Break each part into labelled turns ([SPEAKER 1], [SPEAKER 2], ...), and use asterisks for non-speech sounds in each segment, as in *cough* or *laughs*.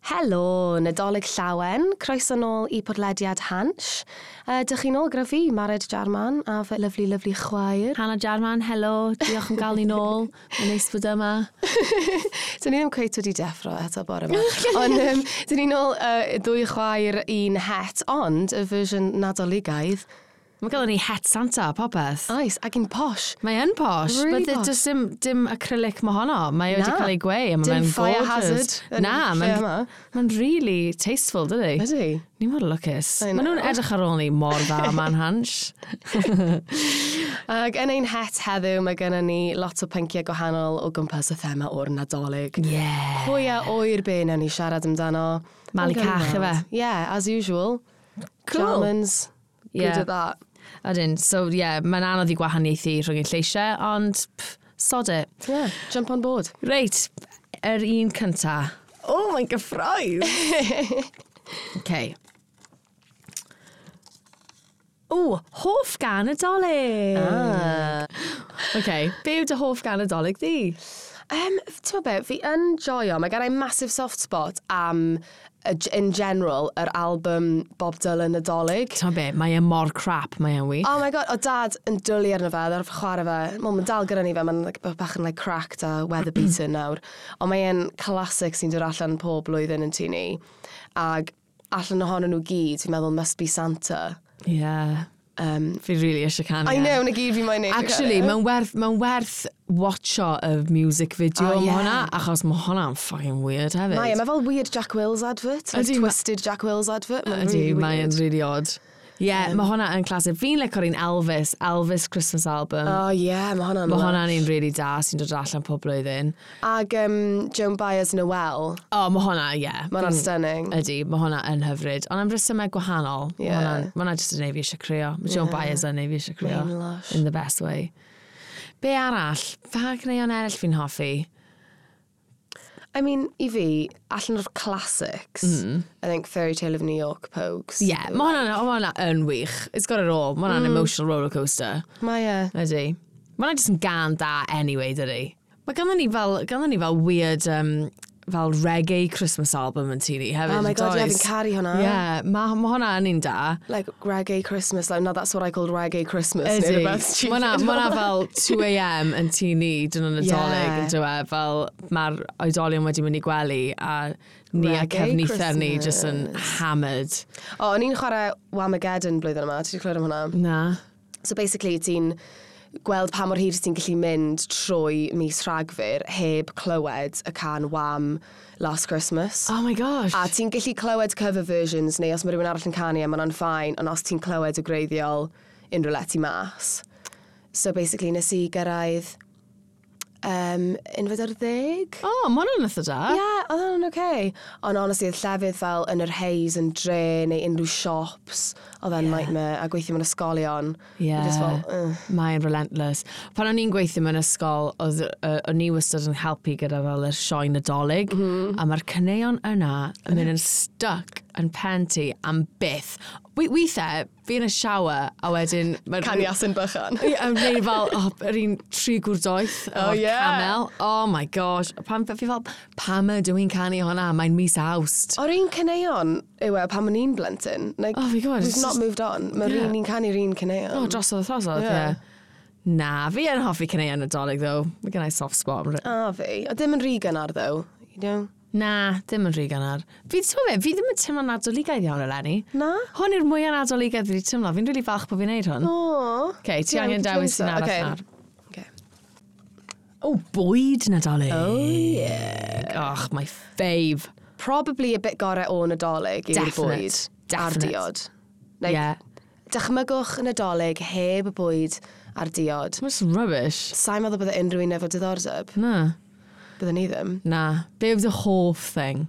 [SPEAKER 1] Helo, Nadolig Llawen, croeso nôl i podlediad Hansh. Uh, Dych chi'n ôl gyda fi, Mared Jarman, a fy lyflu, lyflu chwaer.
[SPEAKER 2] Hannah Jarman, helo, diolch am gael ni nôl. Mae'n neis bod yma.
[SPEAKER 1] Dyn ni ddim cweith wedi deffro eto bore
[SPEAKER 2] *laughs*
[SPEAKER 1] yma. ond um, dyn ni'n ôl uh, dwy chwaer un het, ond y fersiwn Nadoligaidd.
[SPEAKER 2] Mae gael ni het Santa a popeth.
[SPEAKER 1] Oes, ac un posh.
[SPEAKER 2] Mae yn posh,
[SPEAKER 1] Really
[SPEAKER 2] but
[SPEAKER 1] posh.
[SPEAKER 2] there's just dim, dim acrylic mae honno. Mae wedi
[SPEAKER 1] Na.
[SPEAKER 2] cael ei gweu, a
[SPEAKER 1] Dim
[SPEAKER 2] mae'n
[SPEAKER 1] fire
[SPEAKER 2] gorgeous.
[SPEAKER 1] hazard yn
[SPEAKER 2] Na,
[SPEAKER 1] lle yma.
[SPEAKER 2] mae'n mae'n really tasteful, dydy.
[SPEAKER 1] Ydy.
[SPEAKER 2] Ni mor lwcus.
[SPEAKER 1] I
[SPEAKER 2] Maen nhw'n
[SPEAKER 1] know.
[SPEAKER 2] edrych ar ôl ni mor dda ma'n
[SPEAKER 1] *laughs*
[SPEAKER 2] hans.
[SPEAKER 1] Ac yn ein het heddiw, mae gennym ni lot o pynciau gwahanol o gwmpas y thema o'r Nadolig.
[SPEAKER 2] Yeah.
[SPEAKER 1] Pwy a o'r be na ni siarad amdano.
[SPEAKER 2] Malu
[SPEAKER 1] Yn
[SPEAKER 2] cach
[SPEAKER 1] gyfnod.
[SPEAKER 2] efe.
[SPEAKER 1] Yeah, as usual.
[SPEAKER 2] Cool.
[SPEAKER 1] Germans,
[SPEAKER 2] Yeah.
[SPEAKER 1] good at that.
[SPEAKER 2] Adyn, so yeah, mae'n anodd i gwahaniaethu rhwng y lleisiau, ond pff, sod it.
[SPEAKER 1] Yeah, jump on board.
[SPEAKER 2] Reit, yr un cynta.
[SPEAKER 1] Oh, mae'n gyffroes.
[SPEAKER 2] *laughs* Okay. O, hoff gan y dolyg. Ah. Okay, be yw dy hoff gan y dolyg di?
[SPEAKER 1] Um, Ti'n meddwl beth, fi yn joio, mae gen i massive soft spot am, y g- in general, yr album Bob Dylan Nadolig.
[SPEAKER 2] Ti'n be, mae e mor crap, mae e'n wych.
[SPEAKER 1] Oh my god, o dad yn dwlu arno fe, ddod chwarae fe. Wel, mae'n dal gyda ni fe, mae'n like, b- bach yn like, cracked a weather beaten
[SPEAKER 2] *clears throat*
[SPEAKER 1] nawr. Ond mae'n classic sy'n dod allan pob blwyddyn yn tu ni. Ag allan ohonyn nhw gyd, fi'n meddwl must be Santa.
[SPEAKER 2] Ie. Yeah.
[SPEAKER 1] Um,
[SPEAKER 2] Fi really eisiau canu.
[SPEAKER 1] I
[SPEAKER 2] e.
[SPEAKER 1] know, na gyd fi mae'n neud. e.
[SPEAKER 2] Actually, mae'n werth, mae'n werth watcho y music video
[SPEAKER 1] Oh,
[SPEAKER 2] oh, am
[SPEAKER 1] ie.
[SPEAKER 2] hwnna, achos mae hwnna'n fucking weird hefyd.
[SPEAKER 1] Mae, mae fel weird Jack Wills advert, like
[SPEAKER 2] Ydi, ma-
[SPEAKER 1] twisted Jack Wills advert. Mae'n
[SPEAKER 2] Ydy,
[SPEAKER 1] really
[SPEAKER 2] mae'n
[SPEAKER 1] weird.
[SPEAKER 2] really odd. Ie, yeah, mae hwnna yn clasur. Fi'n lecor un Elvis, Elvis Christmas album.
[SPEAKER 1] O ie, mae hwnna'n
[SPEAKER 2] mae
[SPEAKER 1] Oh, lush.
[SPEAKER 2] hwnna'n un really da sy'n dod allan pob blwyddyn.
[SPEAKER 1] Ag um, Joan Baez Noel,
[SPEAKER 2] O, mae hwnna, ie. Yeah.
[SPEAKER 1] mae hwnna'n stunning.
[SPEAKER 2] Ydy, mae hwnna yn hyfryd. Ond am resymau gwahanol, mae
[SPEAKER 1] Ie.
[SPEAKER 2] hwnna'n- mae hwnna jyst yn neud fi eisiau crio. Mae Joan Baez yn neud fi eisiau crio.
[SPEAKER 1] Mae'n lush.
[SPEAKER 2] In the best way. Be arall? Pa gneud o'n eraill fi'n hoffi?
[SPEAKER 1] I mean, i fi, allan o'r classics, I think Fairy Tale of New York Pogues.
[SPEAKER 2] Ie, Mm. yeah, mae hwnna, ma hwnna yn wych. It's got it all. Mae
[SPEAKER 1] Mm.
[SPEAKER 2] hwnna'n emotional roller coaster.
[SPEAKER 1] Mae e.
[SPEAKER 2] Ydy. Mae hwnna jyst yn gan da anyway, dydy. Mae ganddyn ni fel, ganddyn ni fel weird, um, fel reggae Christmas album yn tu ni hefyd.
[SPEAKER 1] Oh my god, ie,
[SPEAKER 2] e does?
[SPEAKER 1] fi'n caru hwnna.
[SPEAKER 2] Ie, mae ma hwnna yn un da.
[SPEAKER 1] Like reggae Christmas, like, no, that's what I called reggae Christmas. neu
[SPEAKER 2] Ydy. *laughs*
[SPEAKER 1] rhywbeth stupid.
[SPEAKER 2] Mae
[SPEAKER 1] *laughs*
[SPEAKER 2] hwnna fel 2am yn tu ni, dyn nhw'n adolyg,
[SPEAKER 1] Ie.
[SPEAKER 2] yn dweud, fel mae'r oedolion wedi mynd i gwely a ni a
[SPEAKER 1] Reggae
[SPEAKER 2] cefnither ni jyst yn hammered.
[SPEAKER 1] O, o'n i'n chwarae Whamageddon blwyddyn yma, ti wedi clywed am hwnna?
[SPEAKER 2] Na.
[SPEAKER 1] So basically, ti'n gweld pa mor hyd ti'n gallu mynd trwy mis rhagfyr heb clywed y can Wham Last Christmas.
[SPEAKER 2] Oh my gosh.
[SPEAKER 1] A ti'n gallu clywed cover versions neu os mae rhywun arall yn canu e, a mae'n ffain, ond os ti'n clywed y greiddiol unrhyw let i mas. So basically nes i gyrraedd um, unfod ar ddeg.
[SPEAKER 2] oh, mae hwnna'n eitha da.
[SPEAKER 1] Ie, yeah, oedd hwnna'n oce. Okay. Ond honestly, oedd llefydd fel yn yr haze, yn dre, neu unrhyw shops, oedd e'n yeah. nightmare, a gweithio mewn ysgolion.
[SPEAKER 2] Ie.
[SPEAKER 1] I Just fel, ugh.
[SPEAKER 2] Mae'n relentless. Pan o'n i'n gweithio mewn ysgol, oedd uh, o'n i wastad yn helpu gyda fel yr sioen nadolig, a mae'r cyneuon yna yn mynd Mm-hmm. yn stuck yn pen ti am byth. We, weithiau, fi yn y shower, a wedyn... ma'r-
[SPEAKER 1] Canu asyn bychan.
[SPEAKER 2] Ie, A wneud fel, oh, yr un tri gwrdoeth
[SPEAKER 1] Oh,
[SPEAKER 2] o
[SPEAKER 1] ie.
[SPEAKER 2] camel. Oh my gosh. Pam, fi fel, pam ydw i'n canu hwnna? Mae'n mis awst.
[SPEAKER 1] O'r un caneuon yw e pan o'n i'n blentyn. Like,
[SPEAKER 2] Oh my God,
[SPEAKER 1] We've
[SPEAKER 2] it's
[SPEAKER 1] not
[SPEAKER 2] just-
[SPEAKER 1] moved on. Mae'r
[SPEAKER 2] Yeah.
[SPEAKER 1] un ni'n canu'r un caneuon.
[SPEAKER 2] Oh, drosodd y
[SPEAKER 1] Ie.
[SPEAKER 2] throsodd, ie. Yeah. Na, fi yn hoffi cynnig yn y dolyg, ddo. Mae gen i soft spot. am ry-
[SPEAKER 1] A fi. O ddim yn rhy gynnar, ddo. You know?
[SPEAKER 2] Na, dim yn rhy gynnar. Fi, ti'n fe, fi ddim yn teimlo'n adoligaidd iawn eleni.
[SPEAKER 1] Na?
[SPEAKER 2] Hwn yw'r mwyaf adoligaidd fi wedi teimlo. Fi'n rili really falch bod fi'n neud hwn.
[SPEAKER 1] O.
[SPEAKER 2] Okay, ti
[SPEAKER 1] Ie, we
[SPEAKER 2] angen
[SPEAKER 1] can
[SPEAKER 2] dewis
[SPEAKER 1] change
[SPEAKER 2] un
[SPEAKER 1] that.
[SPEAKER 2] arall
[SPEAKER 1] Okay.
[SPEAKER 2] nawr.
[SPEAKER 1] Okay.
[SPEAKER 2] O, bwyd nadolig. Oh, yeah. Och, my fave.
[SPEAKER 1] Probably a bit gorau o Nadolig i'r
[SPEAKER 2] Definite.
[SPEAKER 1] bwyd. Ar
[SPEAKER 2] Definite.
[SPEAKER 1] diod.
[SPEAKER 2] Ie.
[SPEAKER 1] Like,
[SPEAKER 2] yeah.
[SPEAKER 1] Dychmygwch Nadolig heb y bwyd ar diod.
[SPEAKER 2] Mae'n just rubbish.
[SPEAKER 1] Sa'n meddwl bydde unrhyw un efo diddordeb.
[SPEAKER 2] Na.
[SPEAKER 1] Bydde ni ddim.
[SPEAKER 2] Na. Be oedd y hoff thing?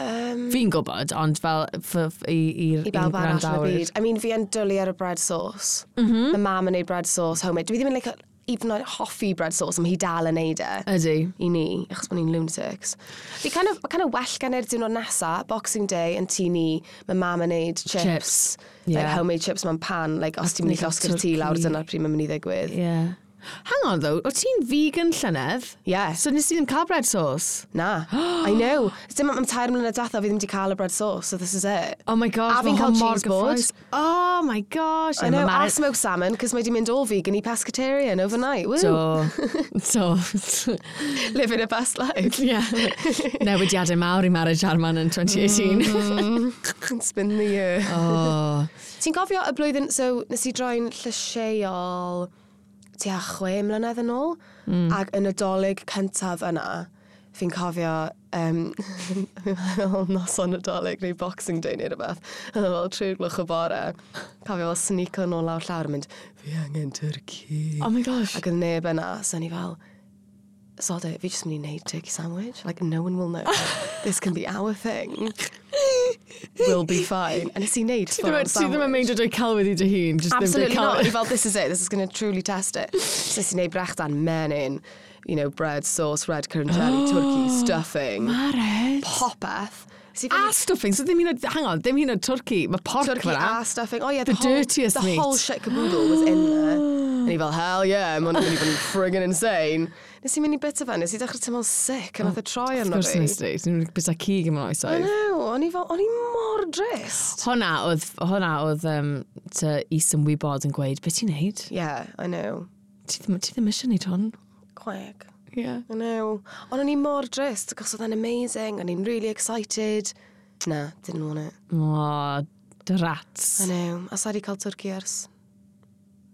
[SPEAKER 1] Um,
[SPEAKER 2] Fi'n gwybod, ond fel f- f- i- i'r
[SPEAKER 1] I bawb
[SPEAKER 2] i'n
[SPEAKER 1] arall yn y
[SPEAKER 2] gwrandawyr. Mhm.
[SPEAKER 1] byd. I mean, fi yn dwlu ar y bread sauce. Mm -hmm. Mae mam yn neud bread sauce homemade. Dwi ddim yn like, even like, hoffi bread sauce, ond hi dal yn neud e.
[SPEAKER 2] Ydy.
[SPEAKER 1] i ni, achos bod ni'n lunatics. Fi kind of, kind of well gan i'r diwrnod nesa, Boxing Day yn tu ni, mae mam yn neud chips.
[SPEAKER 2] Chips,
[SPEAKER 1] Like
[SPEAKER 2] ie.
[SPEAKER 1] homemade chips mewn pan, like os ti'n mynd i
[SPEAKER 2] Neu
[SPEAKER 1] llosgi'r tŷ
[SPEAKER 2] twrci.
[SPEAKER 1] lawr dyna pryd mae'n mynd i ddigwydd.
[SPEAKER 2] Ie. Hang on though, o ti'n vegan llynedd?
[SPEAKER 1] Yeah.
[SPEAKER 2] So nes ti ddim cael bread sauce?
[SPEAKER 1] Na. I know. Dim am am tair mlynedd datha fi ddim wedi cael y bread sauce, so this is it.
[SPEAKER 2] Oh my gosh,
[SPEAKER 1] A fi'n
[SPEAKER 2] ma'
[SPEAKER 1] cael
[SPEAKER 2] hwn mor
[SPEAKER 1] cheese board.
[SPEAKER 2] gyffrous. Oh my gosh.
[SPEAKER 1] I
[SPEAKER 2] Ie, ma'
[SPEAKER 1] know,
[SPEAKER 2] Mari-
[SPEAKER 1] I smoked salmon, cos mae wedi mynd all vegan i pescatarian overnight. Woo.
[SPEAKER 2] Do. Do.
[SPEAKER 1] *laughs* Living a best life.
[SPEAKER 2] Mm. *laughs* yeah. Newidiadau mawr i marriage Arman yn 2018.
[SPEAKER 1] *laughs* It's been the year.
[SPEAKER 2] oh.
[SPEAKER 1] Ti'n gofio y blwyddyn, so nes i droi'n llysieuol tua chwe mlynedd yn ôl,
[SPEAKER 2] Mm.
[SPEAKER 1] ac yn y dolyg cyntaf yna, fi'n cofio, um, *laughs* fi'n meddwl noson y dolyg neu boxing day neu rhywbeth, yn fel trwy'r glwch o bore, cofio fel sneaker nôl lawr llawr yn mynd, fi angen tyrci.
[SPEAKER 2] oh my gosh.
[SPEAKER 1] Ac oedd neb yna, so o'n i fel, sod it, fi jyst mynd i wneud turkey sandwich. Like, no one will
[SPEAKER 2] *laughs*
[SPEAKER 1] know. This can be our thing. We'll be fine. And nes i wneud ffwrdd
[SPEAKER 2] Ti ddim yn
[SPEAKER 1] sandwich.
[SPEAKER 2] meindio drwy celwydd i dy hun. jyst ddim drwy
[SPEAKER 1] Absolutely not. O'n i
[SPEAKER 2] celwydd.
[SPEAKER 1] fel, this is it, this is going to truly test it. So nes i wneud brechdan menyn, you know, bread, sauce, red currant jelly,
[SPEAKER 2] *gasps*
[SPEAKER 1] turkey, stuffing,
[SPEAKER 2] Marriage.
[SPEAKER 1] popeth. Nes i fel-
[SPEAKER 2] A stuffing, so ddim hyn o, hang on, ddim hyn o twrci, mae porc
[SPEAKER 1] turkey
[SPEAKER 2] fyna.
[SPEAKER 1] a stuffing. Oh yeah,
[SPEAKER 2] The
[SPEAKER 1] the, whole,
[SPEAKER 2] dirtiest
[SPEAKER 1] the
[SPEAKER 2] meat.
[SPEAKER 1] whole shit caboodle was in
[SPEAKER 2] *gasps*
[SPEAKER 1] there. And he fel, hell yeah, mae'n mynd i fod yn friggin insane. Nes i mynd i bit o fan, nes i dechrau tymol sick, a nath y troi
[SPEAKER 2] Oh, Of
[SPEAKER 1] arno
[SPEAKER 2] course
[SPEAKER 1] fi.
[SPEAKER 2] nes di, dwi'n bita cig ym oesoedd.
[SPEAKER 1] No, o'n i fel, o'n i mor drist.
[SPEAKER 2] Honna oedd, honna oedd um, ty is yn wybod yn gweud, beth ti'n neud?
[SPEAKER 1] Yeah, I know.
[SPEAKER 2] Ti ddim, ti ddim eisiau neud hwn?
[SPEAKER 1] Quick.
[SPEAKER 2] Yeah.
[SPEAKER 1] I know. Ond o'n i mor drist, achos oedd e'n amazing, o'n i'n really excited. Na, didn't want it.
[SPEAKER 2] O, dy
[SPEAKER 1] I
[SPEAKER 2] rats.
[SPEAKER 1] know. A sa'i di cael twrci ers?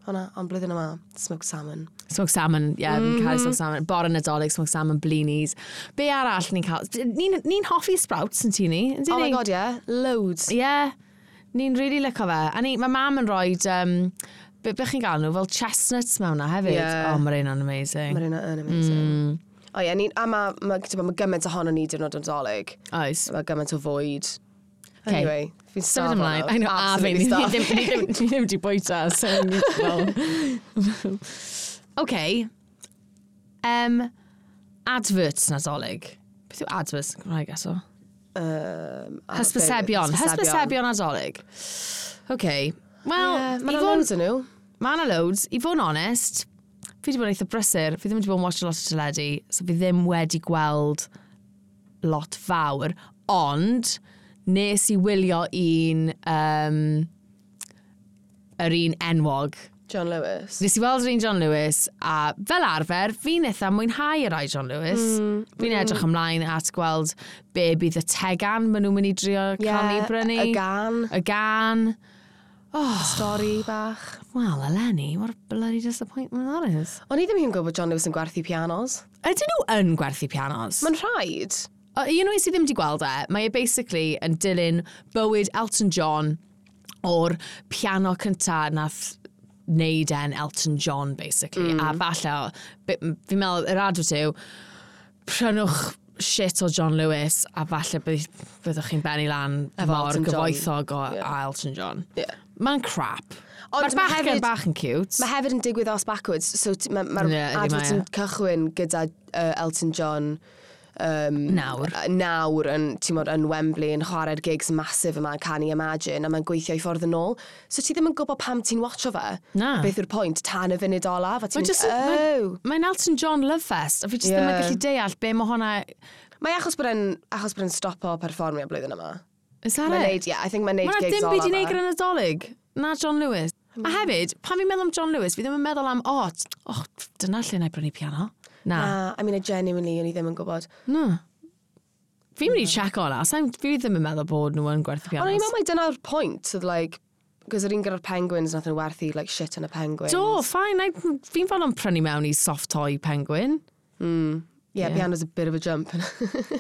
[SPEAKER 1] Hwna, ond blwyddyn yma, smoked salmon.
[SPEAKER 2] Smoked salmon, ie, yeah, mm.
[SPEAKER 1] Mm-hmm.
[SPEAKER 2] cael smoked salmon. Bor yn adolyg, smoked salmon, blinis. Be arall ni'n cael? Ni'n ni hoffi sprouts yn ti ni? yndyn
[SPEAKER 1] Oh my
[SPEAKER 2] ni?
[SPEAKER 1] god, yeah, loads.
[SPEAKER 2] Ie, yeah, ni'n really licio fe. A ni, mae mam yn rhoi, um, be, be chi'n galw nhw, fel chestnuts mewn na hefyd.
[SPEAKER 1] Ie.
[SPEAKER 2] Oh, mae'r un o'n amazing.
[SPEAKER 1] Mae hynna yn amazing. Mm. O ie, ni, a mae ma, ma, ma gymaint ohono ni diwrnod yn dolyg.
[SPEAKER 2] Oes.
[SPEAKER 1] Mae gymaint o fwyd.
[SPEAKER 2] Okay.
[SPEAKER 1] Anyway, fi'n
[SPEAKER 2] Sefyd
[SPEAKER 1] starfo
[SPEAKER 2] ymlaen. I know, a fe, ni ni ddim ni ddim- ni ddim wedi bwyta. So, ni- wel. OK. Um, adverts nadolig. Beth yw adverts yn Cymraeg eto? Hysbysebion. Hysbysebion nadolig. OK. Wel,
[SPEAKER 1] Mae
[SPEAKER 2] i
[SPEAKER 1] yna
[SPEAKER 2] fod
[SPEAKER 1] loads yn nhw.
[SPEAKER 2] Mae yna loads. I fod yn onest, fi wedi bod eitha brysur. Fi ddim wedi bod yn watch a lot o teledu, so fi ddim wedi gweld lot fawr. Ond, nes i wylio un, um, yr un enwog.
[SPEAKER 1] John Lewis.
[SPEAKER 2] Nes i weld yr un John Lewis, a fel arfer, fi'n eitha mwynhau yr ai John Lewis. fi'n edrych ymlaen at gweld be bydd y tegan maen nhw'n mynd i drio cael ni brynu.
[SPEAKER 1] y gan,
[SPEAKER 2] Y gan.
[SPEAKER 1] stori bach.
[SPEAKER 2] Wel, Eleni, what a bloody disappointment that is.
[SPEAKER 1] O'n i ddim yn gwybod bod John Lewis yn gwerthu pianos.
[SPEAKER 2] Ydyn nhw yn gwerthu pianos?
[SPEAKER 1] Mae'n rhaid.
[SPEAKER 2] O, Un o'i sydd ddim wedi gweld e, mae e basically yn dilyn bywyd Elton John o'r piano cynta nath wneud e'n Elton John, basically. A
[SPEAKER 1] Mm.
[SPEAKER 2] falle, o- be- m- fi'n meddwl, yr adwyd yw, prynwch shit o John Lewis a falle bydd- byddwch chi'n bennu lan
[SPEAKER 1] Efo
[SPEAKER 2] mor
[SPEAKER 1] Elton John.
[SPEAKER 2] gyfoethog o
[SPEAKER 1] Ie.
[SPEAKER 2] a Elton John.
[SPEAKER 1] Yeah.
[SPEAKER 2] Mae'n crap.
[SPEAKER 1] Ond
[SPEAKER 2] Mae'r
[SPEAKER 1] ma'
[SPEAKER 2] bachgen
[SPEAKER 1] hefyd-
[SPEAKER 2] bach yn cute.
[SPEAKER 1] Mae hefyd yn digwydd os backwards, so mae'r ma
[SPEAKER 2] Ie, ydi,
[SPEAKER 1] yeah, advert
[SPEAKER 2] mae e.
[SPEAKER 1] yn cychwyn gyda uh, Elton John um,
[SPEAKER 2] Nawr.
[SPEAKER 1] uh, nawr yn, ti'n modd, yn Wembley yn chwarae'r gigs masif yma, can i imagine, a mae'n gweithio i ffordd yn ôl. So ti ddim yn gwybod pam ti'n watcho fe.
[SPEAKER 2] Na.
[SPEAKER 1] Beth yw'r pwynt, tan y funud olaf, a ti'n
[SPEAKER 2] Mae'n
[SPEAKER 1] mynd,
[SPEAKER 2] just-
[SPEAKER 1] oh.
[SPEAKER 2] mae'n- mae'n Elton John love fest, a fi jyst ddim yn
[SPEAKER 1] Ie.
[SPEAKER 2] gallu deall be mae hwnna...
[SPEAKER 1] Mae achos bod e'n achos bod e'n stopo perfformio blwyddyn yma.
[SPEAKER 2] Is that
[SPEAKER 1] Mae'n
[SPEAKER 2] it?
[SPEAKER 1] neud, yeah, I think mae'n neud
[SPEAKER 2] Mae'n
[SPEAKER 1] gigs
[SPEAKER 2] dim byd i
[SPEAKER 1] olaf.
[SPEAKER 2] neud
[SPEAKER 1] e.
[SPEAKER 2] gyda'n adolyg. Na John Lewis. A hefyd, pan fi'n meddwl am John Lewis, fi ddim yn meddwl am, o, t- och, dyna lle na i brynu piano. Na.
[SPEAKER 1] Na, I mean, I genuinely, o'n i ddim yn gwybod.
[SPEAKER 2] Na. Fi'n mynd i check o na. Sa'n- Fi ddim yn meddwl bod nhw yn gwerthu
[SPEAKER 1] Ond o'n i'n
[SPEAKER 2] pianos.
[SPEAKER 1] meddwl mai dyna'r pwynt, oedd like, Cos yr un gyda'r penguins nath yn werthu, like, shit yn y penguins.
[SPEAKER 2] Do, ffain. I- Fi'n fawr am prynu mewn i soft toy
[SPEAKER 1] *laughs*
[SPEAKER 2] penguin.
[SPEAKER 1] Yeah, piano's a bit of a *laughs* jump.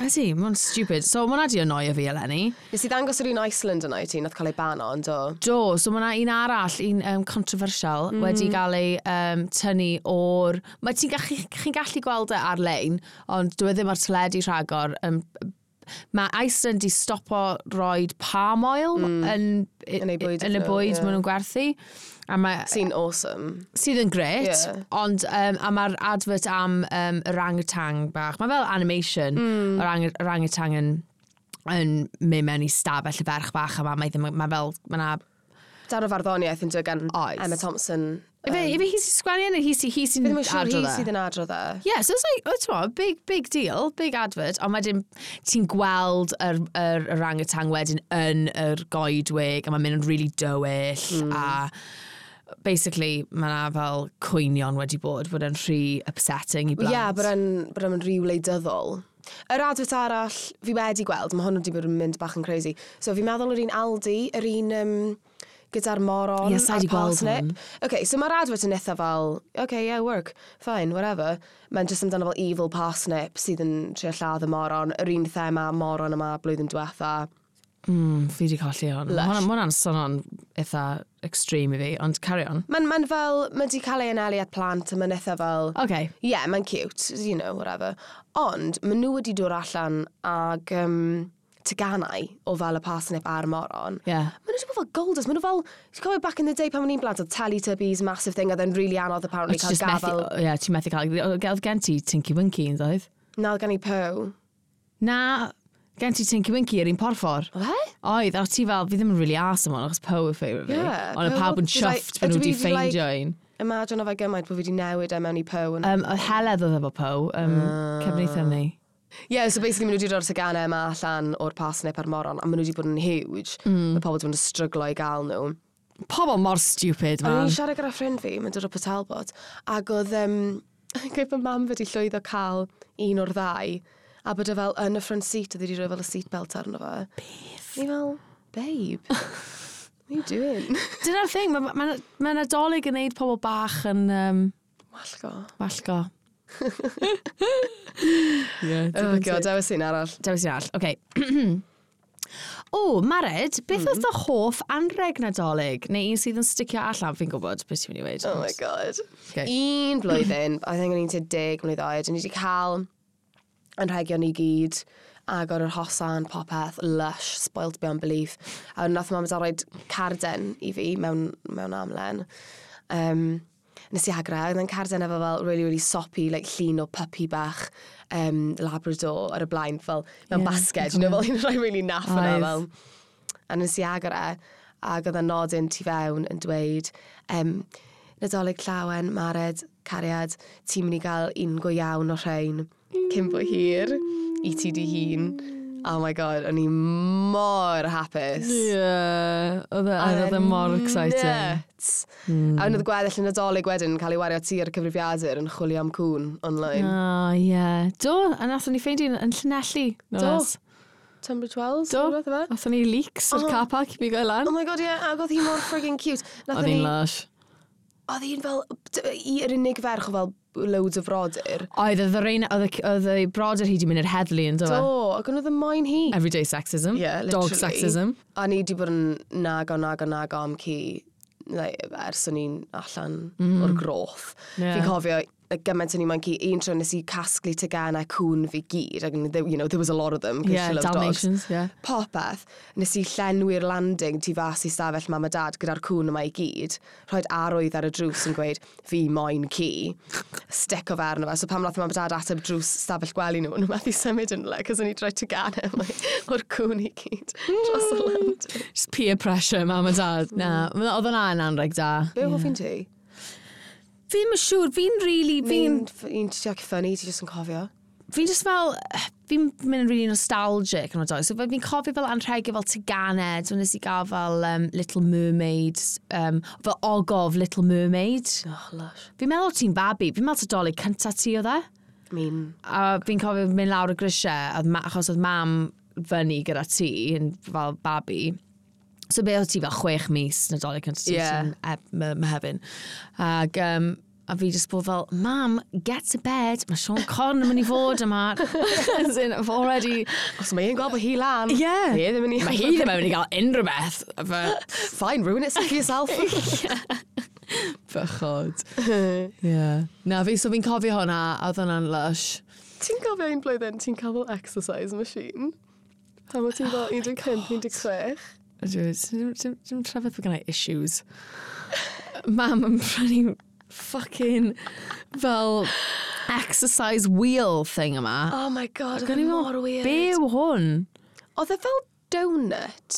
[SPEAKER 2] Ydy, mae'n stupid. So, mae'n adi annoio fi, Eleni.
[SPEAKER 1] Nes i ddangos yr un Iceland yna i ti, nath cael ei bano, ond o.
[SPEAKER 2] Do, so mae yna un arall, un um, controversial,
[SPEAKER 1] Mm-hmm.
[SPEAKER 2] mm. wedi gael ei um, tynnu o'r... Mae ti'n gallu, chi'n gallu gweld e ar-lein, ond dwi ddim ar teledu rhagor. Um, mae Iceland di stopo roed palm oil yn,
[SPEAKER 1] Mm. Yn eu bwyd
[SPEAKER 2] yn y
[SPEAKER 1] nhw,
[SPEAKER 2] bwyd
[SPEAKER 1] ie.
[SPEAKER 2] maen nhw'n gwerthu. A mae,
[SPEAKER 1] Sy'n awesome.
[SPEAKER 2] sydd yn gret,
[SPEAKER 1] Ie.
[SPEAKER 2] ond um, a mae'r advert am um, orangatang bach, mae fel animation, mm. orang, orangatang yn, yn mynd mewn i stafell y ferch bach yma, mae, ddim, mae fel, mae na
[SPEAKER 1] Darw farddoniaeth yn dod gan
[SPEAKER 2] Oes.
[SPEAKER 1] Emma Thompson.
[SPEAKER 2] Ife, ife hi sy'n sgwennu neu hi sy'n hi sy'n
[SPEAKER 1] Bydd yn siŵr hi
[SPEAKER 2] adrodd e?
[SPEAKER 1] sydd yn adrodd e.
[SPEAKER 2] Yeah, so it's like, oh, t'mo, big, big deal, big advert, ond wedyn ti'n gweld yr, yr, yr orangutan wedyn yn yr goedwig, a mae'n mynd yn really dywyll,
[SPEAKER 1] Hmm.
[SPEAKER 2] a basically, mae yna fel cwynion wedi bod, bod yn rhy upsetting i blant.
[SPEAKER 1] Ie, bod yn- bod yn rhyw wleidyddol. Yr adfod arall fi wedi gweld, mae hwn wedi bod yn mynd bach yn crazy. So fi'n meddwl yr un Aldi, yr un um, gyda'r moron
[SPEAKER 2] Ie, sa
[SPEAKER 1] a
[SPEAKER 2] i di gweld
[SPEAKER 1] parsnip.
[SPEAKER 2] hwn.
[SPEAKER 1] Okay, so mae'r adfod yn eitha fel, okay, yeah, work, fine, whatever. Mae'n just amdano fel evil parsnip sydd yn trio lladd y moron, yr un thema moron yma blwyddyn diwetha.
[SPEAKER 2] Mm, fi wedi colli hwn. Ma' hwnna- Ma' hwnna'n sonon eitha extreme i fi, ond carry on.
[SPEAKER 1] Mae'n ma fel, mae wedi cael ei anelu at plant, a mae'n eitha fel...
[SPEAKER 2] Okay.
[SPEAKER 1] Ie, yeah, mae'n cute, you know, whatever. Ond, maen nhw wedi dod allan ag um, teganau o fel y parsnip a'r moron.
[SPEAKER 2] Yeah.
[SPEAKER 1] Maen nhw wedi bod fel golders. Maen nhw fel, ti'n cofio back in the day pan maen ni'n blant, oedd Teletubbies, massive thing, oedd yn really anodd apparently
[SPEAKER 2] Ti'n
[SPEAKER 1] cael
[SPEAKER 2] just
[SPEAKER 1] gafel.
[SPEAKER 2] methu, yeah, ti'n methu cael, o- oedd gen ti Tinky Winky yn ddoedd?
[SPEAKER 1] Na, oedd gan i Poe.
[SPEAKER 2] Na, gen ti Tinky Winky yr un porffor.
[SPEAKER 1] Oedd e?
[SPEAKER 2] Oedd, a ti fel, fi ddim yn really ass am hwn, achos Poe yw ffeirio fi.
[SPEAKER 1] Yeah,
[SPEAKER 2] Ond y
[SPEAKER 1] Poe
[SPEAKER 2] pawb yn
[SPEAKER 1] oedd- did I-
[SPEAKER 2] chuffed pan nhw
[SPEAKER 1] ydw
[SPEAKER 2] wedi
[SPEAKER 1] i 'di, like-
[SPEAKER 2] ffeindio un.
[SPEAKER 1] Imagine o fe gymaint bod fi wedi newid e mewn i Poe.
[SPEAKER 2] Um, oedd Heledd oedd efo Poe, um,
[SPEAKER 1] Ah.
[SPEAKER 2] cefnitha ni.
[SPEAKER 1] Yeah, so basically maen nhw wedi dod o'r teganau yma allan o'r parsnip a'r moron, a maen nhw wedi bod yn huge. Mm. Mae pobl wedi bod yn stryglo i gael nhw.
[SPEAKER 2] Pobl mor stupid,
[SPEAKER 1] O'n
[SPEAKER 2] man.
[SPEAKER 1] i'n siarad gyda ffrind fi, mae'n dod o Patalbot, ac oedd *laughs* um, gaif y mam wedi llwyddo cael un o'r ddau, a bod e fel yn y front seat, oedd wedi rhoi fel y seat belt arno fe. Beth? Ni fel, babe, *laughs* what are you doing? *laughs*
[SPEAKER 2] Dyna'r thing, mae'n ma, ma, ma adolyg yn neud pobl bach yn um,
[SPEAKER 1] Wallgo. *laughs*
[SPEAKER 2] wallgo. yeah,
[SPEAKER 1] Oh god, dewis un arall.
[SPEAKER 2] Dewis i all. Okay. *clears throat* o, Mared, beth
[SPEAKER 1] Hmm.
[SPEAKER 2] oedd dy hoff anreg nadolig? Neu un sydd yn sticio allan, fi'n gwybod beth ti'n mynd i weid.
[SPEAKER 1] Oh my god.
[SPEAKER 2] Okay.
[SPEAKER 1] Un blwyddyn, *clears throat* I think o'n i'n tyd deg mlynedd oed, o'n i wedi cael yn rhegion i gyd, ac o'r hosan, popeth, lush, spoilt beyond belief. A wedyn nath mam a dad roed carden i fi mewn, mewn amlen. Um, nes i agra, oedd yn carden efo fel really, really soppy, like llun o puppy bach um, Labrador ar y blaen, fel mewn
[SPEAKER 2] Ie,
[SPEAKER 1] yeah,
[SPEAKER 2] dwi'n
[SPEAKER 1] basged, you know, fel *laughs* un rhai really naff yna,
[SPEAKER 2] Oedd.
[SPEAKER 1] fel a nes i agor e, ac oedd y nodyn tu fewn yn dweud, um, Nadolig llawen, mared, cariad, ti'n mynd i gael un go iawn o rhain, cyn bo hir, i ti di hun. Oh my god, o'n i mor hapus.
[SPEAKER 2] Yeah, oedd e- oedd e mor exciting.
[SPEAKER 1] Nuts. A yn oedd gweddill yn nadolig wedyn yn cael ei wario tu'r cyfrifiadur yn chwilio am cwn online.
[SPEAKER 2] Ah, yeah. Do, a nathon ni ffeindio un yn Llanelli. no
[SPEAKER 1] Do.
[SPEAKER 2] less.
[SPEAKER 1] Tumblr 12?
[SPEAKER 2] Do,
[SPEAKER 1] rhywbeth o fe?
[SPEAKER 2] nathon ni leaks o'r
[SPEAKER 1] Oh.
[SPEAKER 2] car park i mi gael lan.
[SPEAKER 1] Oh my god, ie, yeah, ac oedd hi mor friggin cute. Nathon
[SPEAKER 2] Oedd hi'n
[SPEAKER 1] ni-
[SPEAKER 2] lush.
[SPEAKER 1] Oedd hi'n fel, d- i yr unig ferch o fel loads o frodyr.
[SPEAKER 2] Oedd e? y reina, oedd y- oedd y brodyr hi wedi mynd i'r heddlu yn
[SPEAKER 1] Do,
[SPEAKER 2] dod.
[SPEAKER 1] ac yn oedd yn moyn hi.
[SPEAKER 2] Everyday sexism.
[SPEAKER 1] Ie,
[SPEAKER 2] Dog
[SPEAKER 1] literally.
[SPEAKER 2] sexism.
[SPEAKER 1] A ni wedi bod yn nago, nago, nago am ci like, ers o'n i'n allan o'r groth.
[SPEAKER 2] Mm. Ie.
[SPEAKER 1] Fi'n cofio y gymaint o'n i'n moyn ci, un tro nes i casglu tegana cwn fi gyd, ac there- you know, there was a lot of them, 'cause
[SPEAKER 2] Yeah,
[SPEAKER 1] she loved dogs.
[SPEAKER 2] Dalmatians, yeah.
[SPEAKER 1] Popeth, nes i llenwi'r landing tu fas i stafell mam a dad gyda'r cwn yma i gyd, rhoi'r arwydd ar y drws yn gweud, fi moyn ci, stick o fe arno fe. So pam nath mam a dad ateb drws stafell gwely nhw, nhw methu symud yn le, cos o'n i droi tegana yma e *laughs* o'r cwn i gyd dros y landing.
[SPEAKER 2] Just peer pressure, mam a dad. Na, oedd hwnna yn anreg da.
[SPEAKER 1] Be yeah. hoff un ti?
[SPEAKER 2] Fi'n yn siŵr, fi'n really, fi'n
[SPEAKER 1] Un, un ti ac ffynnu, ti jyst yn cofio.
[SPEAKER 2] fi just fel, fi'n mynd yn really nostalgic yn oedol. So fe- fi'n cofio fel anrhegio fel teganed, ond nes i gael fel um, Little Mermaid, um, fel ogof Little Mermaid.
[SPEAKER 1] Oh, lush.
[SPEAKER 2] Fi'n meddwl ti'n babi, fi'n meddwl t'dolig cynta ti o dde.
[SPEAKER 1] I mean,
[SPEAKER 2] A fi'n cofio mynd lawr y grisiau, a oedd ma- achos oedd mam fyny gyda ti, yn fel babi. So be oedd ti fel chwech mis na dolyg yn
[SPEAKER 1] Ie.
[SPEAKER 2] yeah. mehefin. Ac, um, a fi just bod fel, mam, get to bed, mae Sean Conn yn mynd i fod yma. As in, I've already...
[SPEAKER 1] os mae un gweld bod hi lan,
[SPEAKER 2] Ie.
[SPEAKER 1] Fe ddim yn i...
[SPEAKER 2] Mae hi ddim yn mynd i gael unrhyw beth. Fy-
[SPEAKER 1] Fine, ruin it, suck yourself. *laughs*
[SPEAKER 2] Fychod. yeah. Na, fi, so fi'n cofio hwnna, a oedd hwnna'n lush.
[SPEAKER 1] Ti'n cofio un blwyddyn, ti'n cael fel exercise machine? Pan o
[SPEAKER 2] Oh
[SPEAKER 1] ti'n fel 15, 16?
[SPEAKER 2] Ydw, dim, dim, dim trafod bod gennau issues. Mam yn prynu fucking fel exercise wheel thing yma. e
[SPEAKER 1] Oh my god,
[SPEAKER 2] Ac
[SPEAKER 1] oedd
[SPEAKER 2] o'n i
[SPEAKER 1] yn
[SPEAKER 2] fel,
[SPEAKER 1] mor weird.
[SPEAKER 2] Be yw hwn?
[SPEAKER 1] Oedd e fel donut,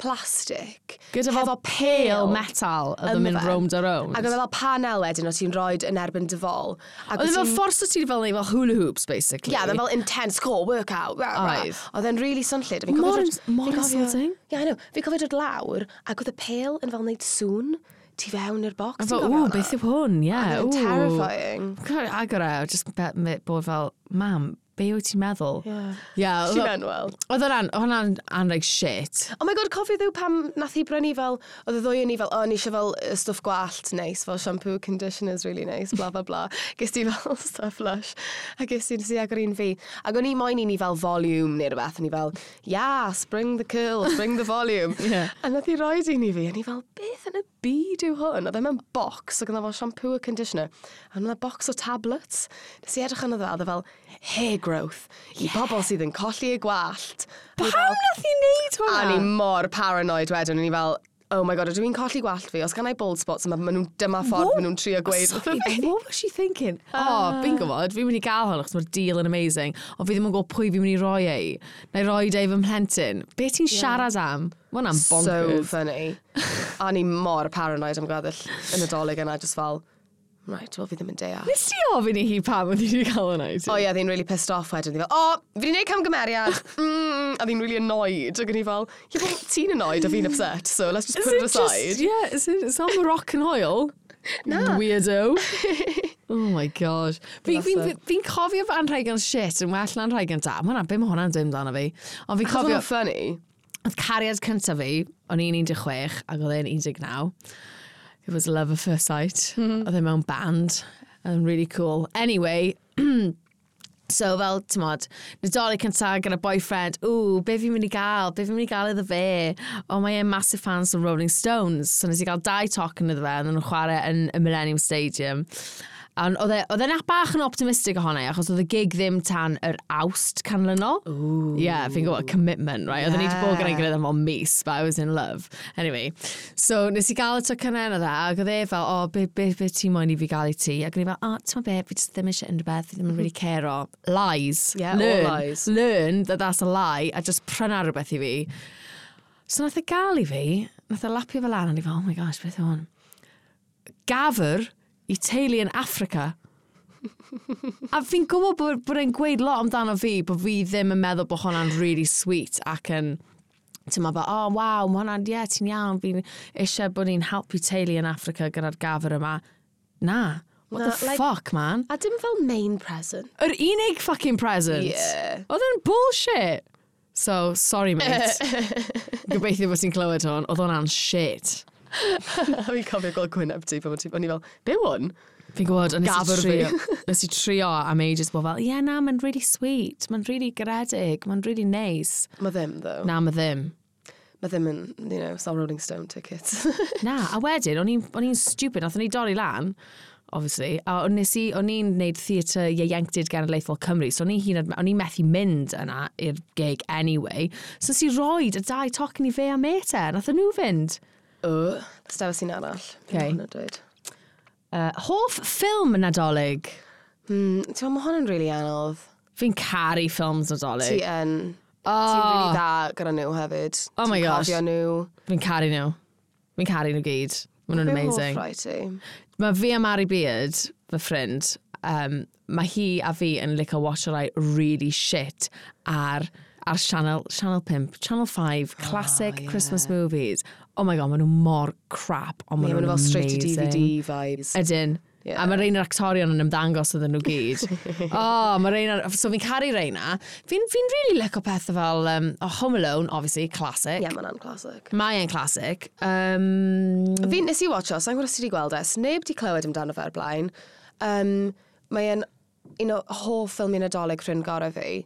[SPEAKER 1] plastic.
[SPEAKER 2] Gyda fel pale metal oedd yn
[SPEAKER 1] ynddo
[SPEAKER 2] mynd
[SPEAKER 1] fe.
[SPEAKER 2] round a round.
[SPEAKER 1] Ac oedd e fel panel wedyn o ti'n roed yn erbyn dy fol. Ac
[SPEAKER 2] Oedd
[SPEAKER 1] wyt
[SPEAKER 2] e fel
[SPEAKER 1] ti'n-
[SPEAKER 2] ffordd sydd fel neu fel hula hoops, basically.
[SPEAKER 1] Yeah, oedd e e'n fel intense core workout. Rah, rah.
[SPEAKER 2] Oedd.
[SPEAKER 1] Oedd e'n really swnllid. a fi'n
[SPEAKER 2] Mor
[SPEAKER 1] cofio
[SPEAKER 2] ins-
[SPEAKER 1] dod-
[SPEAKER 2] mor
[SPEAKER 1] fi'n cofio-
[SPEAKER 2] insulting.
[SPEAKER 1] Yeah, I know. Fi'n cofio dod lawr, ac oedd y pale yn fel wneud sŵn tu fewn i'r box.
[SPEAKER 2] Fel, ww, beth yw hwn, ie.
[SPEAKER 1] Oedd e'n
[SPEAKER 2] ww."
[SPEAKER 1] terrifying.
[SPEAKER 2] Cofio Agor e, just be- me- bod fel, mam, be wyt ti'n meddwl?
[SPEAKER 1] Yeah.
[SPEAKER 2] Yeah,
[SPEAKER 1] Ti'n
[SPEAKER 2] oedd-
[SPEAKER 1] enwel.
[SPEAKER 2] Oedd hwnna'n hwnna'n anreg shit.
[SPEAKER 1] Oh my god, cofio ddiw pam nath hi brynu fel, oedd y ddwy yn ni fel, o, ni eisiau fel y stwff gwallt neis, fel shampoo, conditioners really nice, bla bla *laughs* bla. Ges ti fel stuff lush, a ges ti nes i agor un fi. Ac o'n i moyn i ni fel volume neu rhywbeth, o'n i fel, yes, bring the curls, bring the volume.
[SPEAKER 2] Ie.
[SPEAKER 1] A nath i roed un i fi, o'n i fel, beth yn y byd yw hwn? Oedd e mewn box, ac oedd e fel shampoo a conditioner. A oedd box o tablets. Nes i edrych yn oedd fel, oedd e fel, hair growth, i bobl sydd yn colli y gwallt. A o'n i fel,
[SPEAKER 2] nath i wneud
[SPEAKER 1] A ni mor paranoid wedyn, o'n i fel, oh my god, ydw i'n colli gwallt fi, os gan i bald spots yma, maen nhw'n dyma ffordd maen nhw'n trio gweud. wrtho fi. *laughs* Ah.
[SPEAKER 2] What was she thinking? oh, fi'n gwybod, fi'n mynd i gael hwn, achos mae'r deal yn amazing, ond fi ddim yn gwybod pwy fi'n mynd i roi ei, neu roi ei fy mhlentyn. Be ti'n siarad am? Mae hwnna'n
[SPEAKER 1] So
[SPEAKER 2] bonkers.
[SPEAKER 1] funny. A ni mor paranoid am gwaddill yn y dolyg yna, just fel, right, wel fi ddim yn deall.
[SPEAKER 2] Nes ti ofyn i hi pam oedd hi wedi cael hwnna i ti?
[SPEAKER 1] O ie, oedd hi'n really pissed off wedyn. Oedd hi fel, o, fi wedi gwneud *laughs* camgymeriad. Mm, a oedd hi'n really annoyed. Ac o'n i fel, ie, well, ti'n annoyed a fi'n upset, so let's just put it aside.
[SPEAKER 2] yeah, is it, it's not Moroccan *laughs* oil.
[SPEAKER 1] Na.
[SPEAKER 2] *laughs* Weirdo. oh my gosh. Fi'n fi,
[SPEAKER 1] Bless
[SPEAKER 2] fi, fi cofio fy anrhegan shit yn well na anrhegan da. Mae hwnna, be mae hwnna'n dweud amdano fi. Ond fi'n
[SPEAKER 1] Cofio
[SPEAKER 2] cofio,
[SPEAKER 1] funny.
[SPEAKER 2] oedd cariad cyntaf fi, o'n i'n 16 ac oedd e'n 19. It was love at first sight. Oedd e mewn band. And really cool. Anyway, *clears throat* So fel, ti'n modd, nadolig cyntaf gyda boyfriend, ww, be fi'n mynd i gael, be fi'n mynd i gael iddo fe. O, mae e'n massive fans o Rolling Stones. So nes i gael dau toc yn iddo fe, yn nhw'n chwarae yn y Millennium Stadium. A Oedd e- oedd e'n bach yn optimistic ohonno, i, achos oedd y gig ddim tan yr awst canlynol. Ooh. Yeah, fi'n gwybod, commitment, right? Oedd e yeah. ni wedi bod gyda'i
[SPEAKER 1] Yeah.
[SPEAKER 2] gilydd am o'n mis, but I was in love. Anyway, so nes i gael y toc yna yna dda, ac oedd e fel, o, oh, be, be, be ti moyn i fi gael i ti? Ac o'n i fel, o, oh, ti'n be, fi just ddim eisiau unrhyw beth, fi ddim yn really care o. Lies.
[SPEAKER 1] Mm-hmm. Yeah, all
[SPEAKER 2] Learn.
[SPEAKER 1] lies.
[SPEAKER 2] Learn that that's a lie, a just pryna rhywbeth i fi. So nath e gael i fi, nath e lapio fel lan, a ni fel, oh my gosh, beth yw hwn? Gafr i teulu yn Africa. a fi'n gwybod bod, bod e'n gweud lot amdano fi, bod fi ddim yn meddwl bod hwnna'n really sweet ac yn ti'n meddwl, oh waw, mae hwnna'n, ie, yeah, ti'n iawn, fi'n eisiau bod ni'n helpu teulu yn Africa gyda'r gafr yma. Na, what
[SPEAKER 1] Na,
[SPEAKER 2] the
[SPEAKER 1] like-
[SPEAKER 2] fuck, man?
[SPEAKER 1] A dim fel main present.
[SPEAKER 2] Yr unig fucking
[SPEAKER 1] *laughs*
[SPEAKER 2] present.
[SPEAKER 1] Ie.
[SPEAKER 2] Oedd yn bullshit. So, sorry mate.
[SPEAKER 1] *laughs*
[SPEAKER 2] Gobeithio bod ti'n clywed hwn. Oedd hwnna'n shit.
[SPEAKER 1] A fi'n cofio gweld gwyneb ti, pan o'n i fel, be hwn?
[SPEAKER 2] Fi'n gwybod, ond nes i
[SPEAKER 1] Gafr fi.
[SPEAKER 2] trio. *laughs* Nes i trio am ages bod fel, ie yeah, na, mae'n really sweet, mae'n really gredig, mae'n really nice.
[SPEAKER 1] Mae ddim, though.
[SPEAKER 2] Na, mae ddim.
[SPEAKER 1] Mae ddim yn, you know, sa'r Rolling Stone ticket.
[SPEAKER 2] *laughs* Na, a wedyn, o'n i'n- o'n i'n stupid, nath o'n i dorri lan, obviously, a o'n nes i, o'n i'n neud theatr ieuenctid genedlaethol Cymru, so o'n i hyn, o'n i methu mynd yna i'r gig anyway, so nes i roed y dau tocyn i fe a mate e, nath nhw fynd.
[SPEAKER 1] o, stafell sy'n arall.
[SPEAKER 2] Okay.
[SPEAKER 1] Hwnna dweud.
[SPEAKER 2] Uh, hoff ffilm nadolig.
[SPEAKER 1] Mm, Ti'n meddwl, mae hwn yn really anodd.
[SPEAKER 2] Fi'n caru ffilms nadolig.
[SPEAKER 1] Ti yn, ti'n really
[SPEAKER 2] Oh,
[SPEAKER 1] dda gyda nhw hefyd.
[SPEAKER 2] Oh my
[SPEAKER 1] Ti'n
[SPEAKER 2] gosh.
[SPEAKER 1] Cofio nhw.
[SPEAKER 2] fi'n caru nhw. Fi'n caru nhw gyd. Mae nhw'n amazing.
[SPEAKER 1] Be hoff rai ti?
[SPEAKER 2] Mae fi a Mari Beard, fy ffrind, um, mae hi a fi yn licio watcherau really shit ar, ar Channel, Channel 5, Channel 5,
[SPEAKER 1] Ah,
[SPEAKER 2] classic
[SPEAKER 1] ie.
[SPEAKER 2] Christmas movies. Oh my god, maen nhw mor crap, ond
[SPEAKER 1] Ie,
[SPEAKER 2] maen
[SPEAKER 1] maen
[SPEAKER 2] nhw'n
[SPEAKER 1] nhw fel straight to
[SPEAKER 2] amazing.
[SPEAKER 1] DVD vibes.
[SPEAKER 2] Ydyn.
[SPEAKER 1] Ie.
[SPEAKER 2] A mae rhain yr actorion yn ymddangos iddyn nhw
[SPEAKER 1] *laughs*
[SPEAKER 2] gyd. o, oh, mae rhain... So fi'n caru reina. Fi'n fi really licio pethau fel um, oh, Home Alone, obviously, classic.
[SPEAKER 1] Ie, mae'n an classic.
[SPEAKER 2] Mae e'n classic. Um,
[SPEAKER 1] Fi nes i watcho, sa'n gwybod os ti wedi gweld e, sneb di clywed amdano fe'r blaen. Um, Mae'n un o hoff ffilm un adolyg rhywun gorau fi.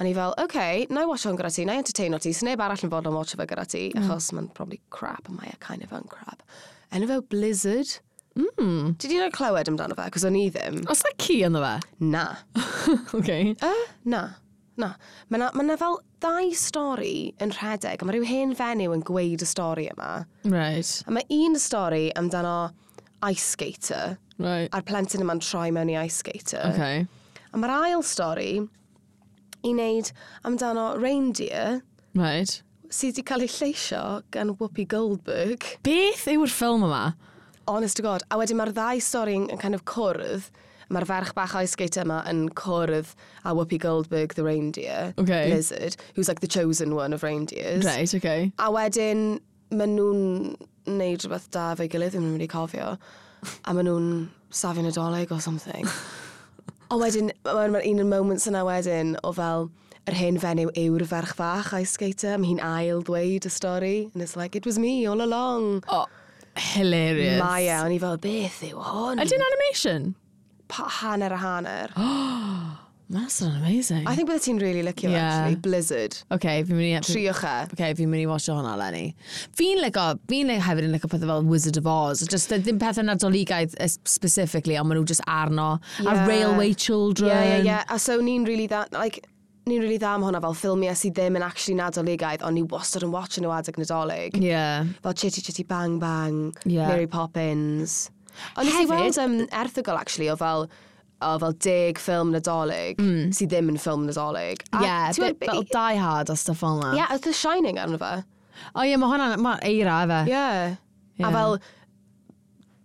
[SPEAKER 1] A ni fel, oce, okay, na i watcho hwn gyda ti, na i entertaino ti, sneb arall yn fod yn watcho fe gyda ti, achos mae'n probably crap, a mae a kind of yn crap. Enw fe yw Blizzard. Mm. Did you not clywed amdano fe? Cos o'n i ddim.
[SPEAKER 2] Os na ci ynddo
[SPEAKER 1] *laughs*
[SPEAKER 2] fe?
[SPEAKER 1] Na.
[SPEAKER 2] okay.
[SPEAKER 1] Y? Na. Na. Mae na, ma na fel ddau stori yn rhedeg, a mae rhyw hen fenyw yn gweud y stori yma.
[SPEAKER 2] Right,
[SPEAKER 1] A mae un stori amdano ice skater,
[SPEAKER 2] right.
[SPEAKER 1] a'r plentyn yma'n troi mewn i ice skater.
[SPEAKER 2] Okay.
[SPEAKER 1] A mae'r ail stori i wneud amdano reindeer
[SPEAKER 2] Right.
[SPEAKER 1] sydd wedi cael ei lleisio gan Whoopi Goldberg.
[SPEAKER 2] Beth yw'r ffilm yma?
[SPEAKER 1] Honest to God. A wedyn mae'r ddau stori yn yn kind of cwrdd. Mae'r ferch bach ice skater yma yn cwrdd a Whoopi Goldberg, the reindeer,
[SPEAKER 2] Okay.
[SPEAKER 1] lizard, who's like the chosen one of reindeers.
[SPEAKER 2] Reit, oce. Okay.
[SPEAKER 1] A wedyn, maen nhw'n neud rhywbeth da fe'i gilydd, ddim yn wedi cofio. A maen nhw'n safio'n adolyg or something. O wedyn, mae'n ma un o'r moments yna wedyn o fel, yr hen fenyw yw'r ferch fach ice skater, mae hi'n ail dweud y stori, and it's like, it was me all along.
[SPEAKER 2] O, hilarious.
[SPEAKER 1] Mae e, o'n i fel, beth yw hwn?
[SPEAKER 2] Ydy'n animation?
[SPEAKER 1] Pa hanner a hanner.
[SPEAKER 2] That's not amazing.
[SPEAKER 1] I think bydde ti'n really licio,
[SPEAKER 2] Yeah.
[SPEAKER 1] actually, Blizzard.
[SPEAKER 2] okay, fi'n mynd i...
[SPEAKER 1] Triwch e.
[SPEAKER 2] Okay, fi'n mynd i watch hwnna, Lenny. Fi'n lico, fi'n lico hefyd yn lico pethau fel Wizard of Oz. Just th- ddim pethau nadoligaidd eh, specifically, ond maen nhw just arno.
[SPEAKER 1] Yeah.
[SPEAKER 2] A Railway Children.
[SPEAKER 1] Ie, ie, ie. A so ni'n really dda, like, ni'n really dda am hwnna fel ffilmiau sydd ddim yn actually nadoligaidd, ond ni wastad yn watch yn o adeg nadolig.
[SPEAKER 2] Yeah.
[SPEAKER 1] Fel Chitty Chitty Bang Bang,
[SPEAKER 2] Ie.
[SPEAKER 1] Mary Poppins. Ond nes i
[SPEAKER 2] Hefyd-
[SPEAKER 1] weld um, erthygol, actually, o fel o fel deg ffilm nadolig sydd ddim yn ffilm nadolig. A
[SPEAKER 2] Yeah,
[SPEAKER 1] ti'n gwbod
[SPEAKER 2] bit, Mm. fel
[SPEAKER 1] be-
[SPEAKER 2] Die Hard a stuff fel na.
[SPEAKER 1] Ie, oedd The Shining arno fe.
[SPEAKER 2] O ie, mae hwnna, mae eira efe.
[SPEAKER 1] Ie.
[SPEAKER 2] Ie.
[SPEAKER 1] A fel,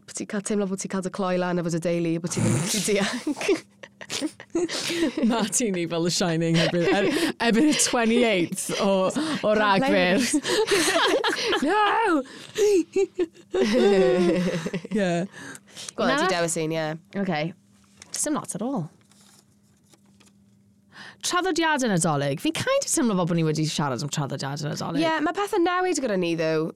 [SPEAKER 1] bod ti'n cael teimlo bod ti'n cael dy cloi lan efo dy deulu, bod ti ddim yn
[SPEAKER 2] *laughs*
[SPEAKER 1] gallu dianc.
[SPEAKER 2] Na ti'n ni fel y Shining erbyn, er, erbyn y 28th o, o Ragfyr. no! *laughs* yeah.
[SPEAKER 1] Gwela,
[SPEAKER 2] Na.
[SPEAKER 1] di dewis un, ie.
[SPEAKER 2] Okay. Sim lot at all. Traddodiadau nadolig. Fi'n kind of teimlo fel bod ni wedi siarad am traddodiadau nadolig.
[SPEAKER 1] Ie, yeah, mae pethau newid gyda ni, ddo,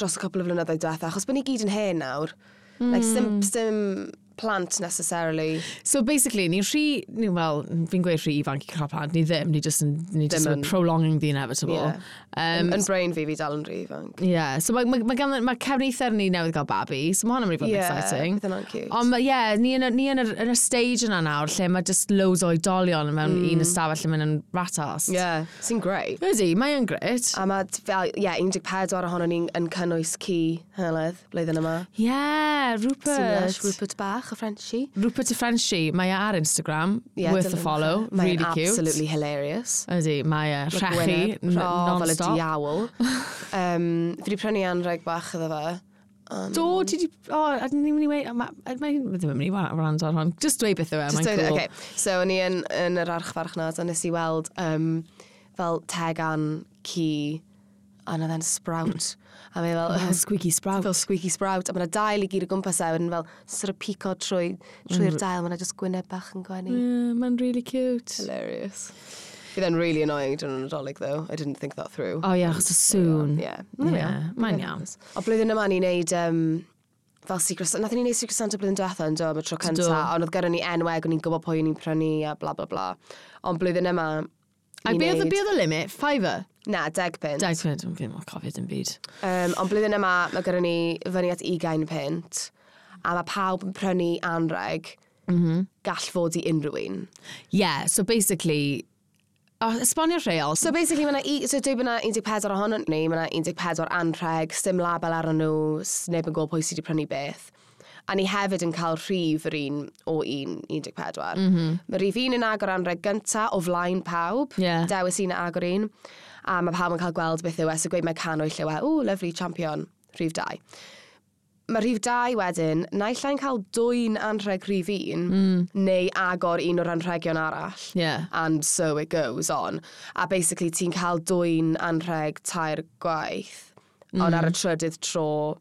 [SPEAKER 1] dros y cwpl o flynyddoedd diwetha, achos bod ni gyd yn hen nawr. Mm. Like,
[SPEAKER 2] Hmm.
[SPEAKER 1] sim, sim plant necessarily.
[SPEAKER 2] So basically, ni rhi, ni, well, fi'n gweud rhi ifanc i cael plant, ni ddim, ni just, yn- ni just
[SPEAKER 1] Ddim yn.
[SPEAKER 2] yn prolonging the inevitable.
[SPEAKER 1] Ie.
[SPEAKER 2] Um,
[SPEAKER 1] Um, yn brain fi, fi dal yn rhy ifanc.
[SPEAKER 2] Yeah, so mae ma, ma, gan- ma cefnither ni newydd gael babi, so mae hwnna'n mynd i fod yn
[SPEAKER 1] Ie,
[SPEAKER 2] exciting.
[SPEAKER 1] bydd hwnna'n cute.
[SPEAKER 2] Ond ma- ie, yeah, ni, yn, y- ni yn, yr, yn y stage yna nawr lle mae just loads o oedolion mewn mm. un ystafell yn mynd yn ratas.
[SPEAKER 1] Ie, yeah, sy'n greu.
[SPEAKER 2] Ydy, mae yn grit.
[SPEAKER 1] A mae, t- fel, ie, yeah, 14 ohono ni'n yn cynnwys ci heledd, blwyddyn yma.
[SPEAKER 2] Ie, yeah,
[SPEAKER 1] Sy'n lush,
[SPEAKER 2] Rupert.
[SPEAKER 1] Rupert Bach, y Frenchie.
[SPEAKER 2] Rupert y Frenchie, mae e ar Instagram,
[SPEAKER 1] Ie,
[SPEAKER 2] worth a
[SPEAKER 1] dilyn
[SPEAKER 2] follow,
[SPEAKER 1] nhw. Mae'n
[SPEAKER 2] really cute.
[SPEAKER 1] absolutely hilarious.
[SPEAKER 2] Ydy, mae e rhechu,
[SPEAKER 1] Gweneb. Oh, fel
[SPEAKER 2] n-
[SPEAKER 1] y
[SPEAKER 2] non-stop. *laughs*
[SPEAKER 1] diawl. um, fi wedi prynu anreg bach iddo fe.
[SPEAKER 2] Do, ti di... O, a ni'n mynd i wei... Mae mae- ddim yn mynd i wa- wrando ar hon. Just dweud beth yw e, mae'n
[SPEAKER 1] Just
[SPEAKER 2] cool.
[SPEAKER 1] dweud- okay. So, o'n i yn, yn yr archfarchnad, a nes i weld um, fel tegan ci, a na then sprout. A mae e fel,
[SPEAKER 2] Fel Oh, squeaky
[SPEAKER 1] *laughs*
[SPEAKER 2] sprout.
[SPEAKER 1] Mm. fel squeaky sprout, a mae yna dail i gyd o gwmpas e, yn fel sort of pico trwy, trwy'r dail, mae yna just gwyneb bach yn gwenu.
[SPEAKER 2] Yeah, mae'n really cute.
[SPEAKER 1] Hilarious. Mm. Bydd e'n really annoying dyn nhw'n adolyg, though. I didn't think that through.
[SPEAKER 2] O ie, achos y sŵn.
[SPEAKER 1] Ie. Mae'n
[SPEAKER 2] Ie,
[SPEAKER 1] iawn.
[SPEAKER 2] mae'n iawn.
[SPEAKER 1] O blwyddyn yma ni'n neud um, fel Secret Santa. Nathon ni'n neud Secret Santa blwyddyn diwetha yn do am y tro
[SPEAKER 2] Do.
[SPEAKER 1] cynta. Ond oedd gyda ni enweg, o'n i'n gwybod pwy o'n i'n prynu a bla bla bla. Ond blwyddyn yma...
[SPEAKER 2] A
[SPEAKER 1] ni'n
[SPEAKER 2] be oedd y
[SPEAKER 1] neud-
[SPEAKER 2] be oedd y limit? Fiver?
[SPEAKER 1] Na, deg pint.
[SPEAKER 2] Dau ti'n meddwl, fi'n mwyn cofio dim byd.
[SPEAKER 1] Um, ond blwyddyn yma, mae gyda ni fyny at 20 pint. A mae pawb yn prynu anreg
[SPEAKER 2] Mhm.
[SPEAKER 1] gall fod i unrhyw un.
[SPEAKER 2] Yeah, so basically, o, esbonio'r rheol. So,
[SPEAKER 1] So basically, mae yna, so dwi bod yna 14 ohono ni, mae yna 14 anrheg, stim label ar nhw, s- neb yn gwybod pwy sydd wedi prynu beth. A ni hefyd yn cael rhif yr un o un 14. Mm -hmm. Mae rhif un yn agor anrheg gynta o flaen pawb,
[SPEAKER 2] Ie.
[SPEAKER 1] dewis un a agor un, a mae pawb yn cael gweld beth yw es y gweud mae canwy llywe, ww, lyflu, champion, rhif 2. Mae rhif 2 wedyn, nailla'n cael dwy'n anrheg rhif 1, mm. neu agor un o'r anrhegion arall
[SPEAKER 2] yeah.
[SPEAKER 1] and so it goes on. A basically, ti'n cael dwy'n anrheg tair gwaith, ond ar y trydydd tro,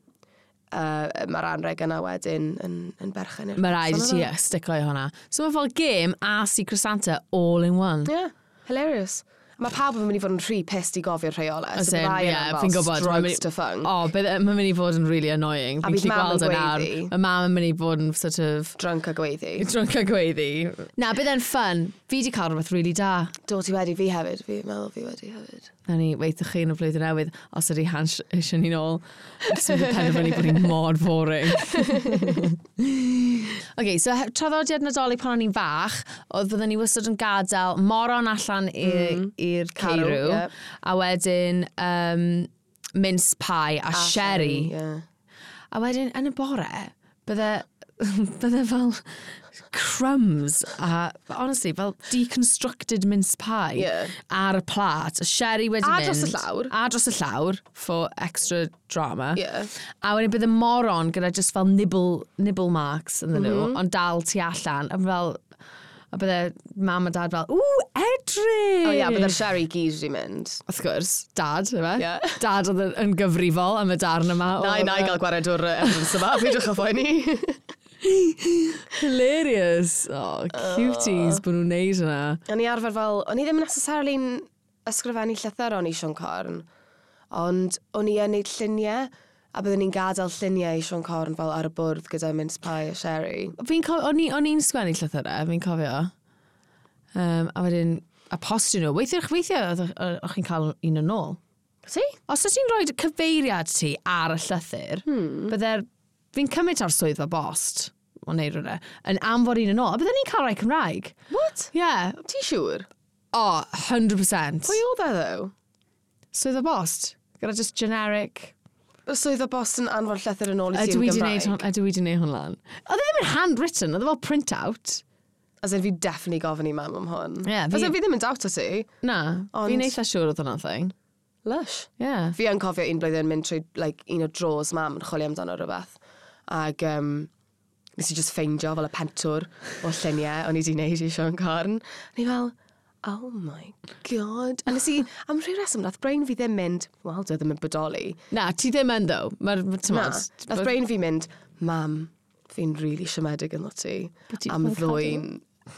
[SPEAKER 1] uh, mae'r anrheg yna wedyn yn, yn berchen i'r
[SPEAKER 2] Mae rhaid i
[SPEAKER 1] person
[SPEAKER 2] ti
[SPEAKER 1] yna.
[SPEAKER 2] stico i hwnna. So mae fel game a Secret Santa all in one.
[SPEAKER 1] Yeah, hilarious. Mae pawb yn mynd i fod yn rhy pissed i gofio'r rheolau.
[SPEAKER 2] As in, yeah, fi'n gwybod. mae'n
[SPEAKER 1] Strokes
[SPEAKER 2] mynd-
[SPEAKER 1] to fung.
[SPEAKER 2] O, bydd- mae'n mynd i fod yn really annoying.
[SPEAKER 1] A
[SPEAKER 2] Fi'n
[SPEAKER 1] bydd
[SPEAKER 2] gallu
[SPEAKER 1] mam yn
[SPEAKER 2] gweld yn nawr.
[SPEAKER 1] gweiddi.
[SPEAKER 2] Y mam yn mynd i fod yn sort of
[SPEAKER 1] Drunk a gweiddi.
[SPEAKER 2] drunk a gweiddi. Na, bydd e'n fun. Fi di cael rhywbeth really da.
[SPEAKER 1] Do ti wedi fi hefyd, fi meddwl fi wedi hefyd.
[SPEAKER 2] Na ni, weithio chi yn y flwyddyn newydd, os ydy hans eisiau ni'n ôl, sy'n mynd i penderfynu bod ni'n mor boring. *laughs* OK, so he- traddodiad nadolig pan o'n i'n fach, oedd byddwn ni wastad yn gadael moron allan i'r mm.
[SPEAKER 1] Carw,
[SPEAKER 2] ceirw,
[SPEAKER 1] yep.
[SPEAKER 2] a wedyn um, mince pie a, sherry.
[SPEAKER 1] Yeah.
[SPEAKER 2] A wedyn, yn y bore, *laughs* bydde, bydde fel crumbs a, honestly, fel deconstructed mince pie
[SPEAKER 1] Ie.
[SPEAKER 2] ar y plat. Y sherry wedi
[SPEAKER 1] A
[SPEAKER 2] mynd.
[SPEAKER 1] dros y llawr.
[SPEAKER 2] A dros y llawr, for extra drama.
[SPEAKER 1] Ie.
[SPEAKER 2] A wedyn bydd y moron gyda just fel nibble, nibble marks yn nhw,
[SPEAKER 1] Mhm.
[SPEAKER 2] ond dal tu allan. A fel, a bydde mam a dad fel, ww, edrych!
[SPEAKER 1] O ia, bydde'r sherry gyd wedi mynd.
[SPEAKER 2] Wrth gwrs, dad, yma.
[SPEAKER 1] Ie.
[SPEAKER 2] Dad oedd yn- yn gyfrifol am y darn yma. o-
[SPEAKER 1] Na i na i gael gwared o'r yy, evidence yma, peidiwch â phoeni.
[SPEAKER 2] Hilarious. Oh, cuties bod nhw'n neud hwnna.
[SPEAKER 1] O'n i arfer fel, o'n i ddim yn necessarily'n ysgrifennu llythyr o'n i Sean Corn, ond o'n i yn neud lluniau, a byddwn ni'n gadael lluniau i Sean Corn fel ar y bwrdd gyda mince pie a sherry.
[SPEAKER 2] Fi'n cofio, o'n i- o'n i'n sgwennu llythyrau, fi'n cofio. Um, a wedyn, a postio nhw. Weithiau, weithiau, oedd- o- o'ch chi'n cael un yn ôl.
[SPEAKER 1] Ti?
[SPEAKER 2] Os ydych ti'n rhoi dy cyfeiriad ti ar y llythyr, hmm. bydde'r, fi'n cymryd ar swyddfa bost, o neud rhywle, yn amfod un yn ôl, a bydden ni'n cael rai Cymraeg.
[SPEAKER 1] What?
[SPEAKER 2] Ie. Yeah.
[SPEAKER 1] Ti siŵr?
[SPEAKER 2] O, oh, 100%.
[SPEAKER 1] Pwy oedd e ddo?
[SPEAKER 2] Swyddfa bost. Gyda just generic.
[SPEAKER 1] Y swydd o bost yn anfon llythyr yn ôl i ti yn
[SPEAKER 2] Ydw i wedi neud
[SPEAKER 1] Gymraeg.
[SPEAKER 2] hwn, ydw i wedi neud hwn lan. Oedd e ddim yn handwritten, oedd e fel print out.
[SPEAKER 1] As in fi definitely gofyn i mam am hwn.
[SPEAKER 2] Ie, fi-
[SPEAKER 1] As in fi ddim yn dawt o ti.
[SPEAKER 2] Na, Ond...
[SPEAKER 1] Ond-
[SPEAKER 2] fi'n eitha siŵr oedd hwnna'n thing.
[SPEAKER 1] Lush.
[SPEAKER 2] Ie. Yeah.
[SPEAKER 1] Fi yn cofio un blwyddyn mynd trwy like, un o dros mam yn chwilio amdano rhywbeth. Ac um, nes i just ffeindio fel y pentwr o lluniau o'n i wedi wneud i Sean Corn. A ni fel, oh my god. A nes i, am rhyw reswm, nath brain fi ddim mynd, wel, dwi ddim yn bodoli.
[SPEAKER 2] Na, ti ddim yn ddo. Mae'r
[SPEAKER 1] Na,
[SPEAKER 2] tymod.
[SPEAKER 1] nath brain fi mynd, mam, fi'n really siomedig yn lot ti.
[SPEAKER 2] But ti-
[SPEAKER 1] Am
[SPEAKER 2] wel, cadw.
[SPEAKER 1] ddwy'n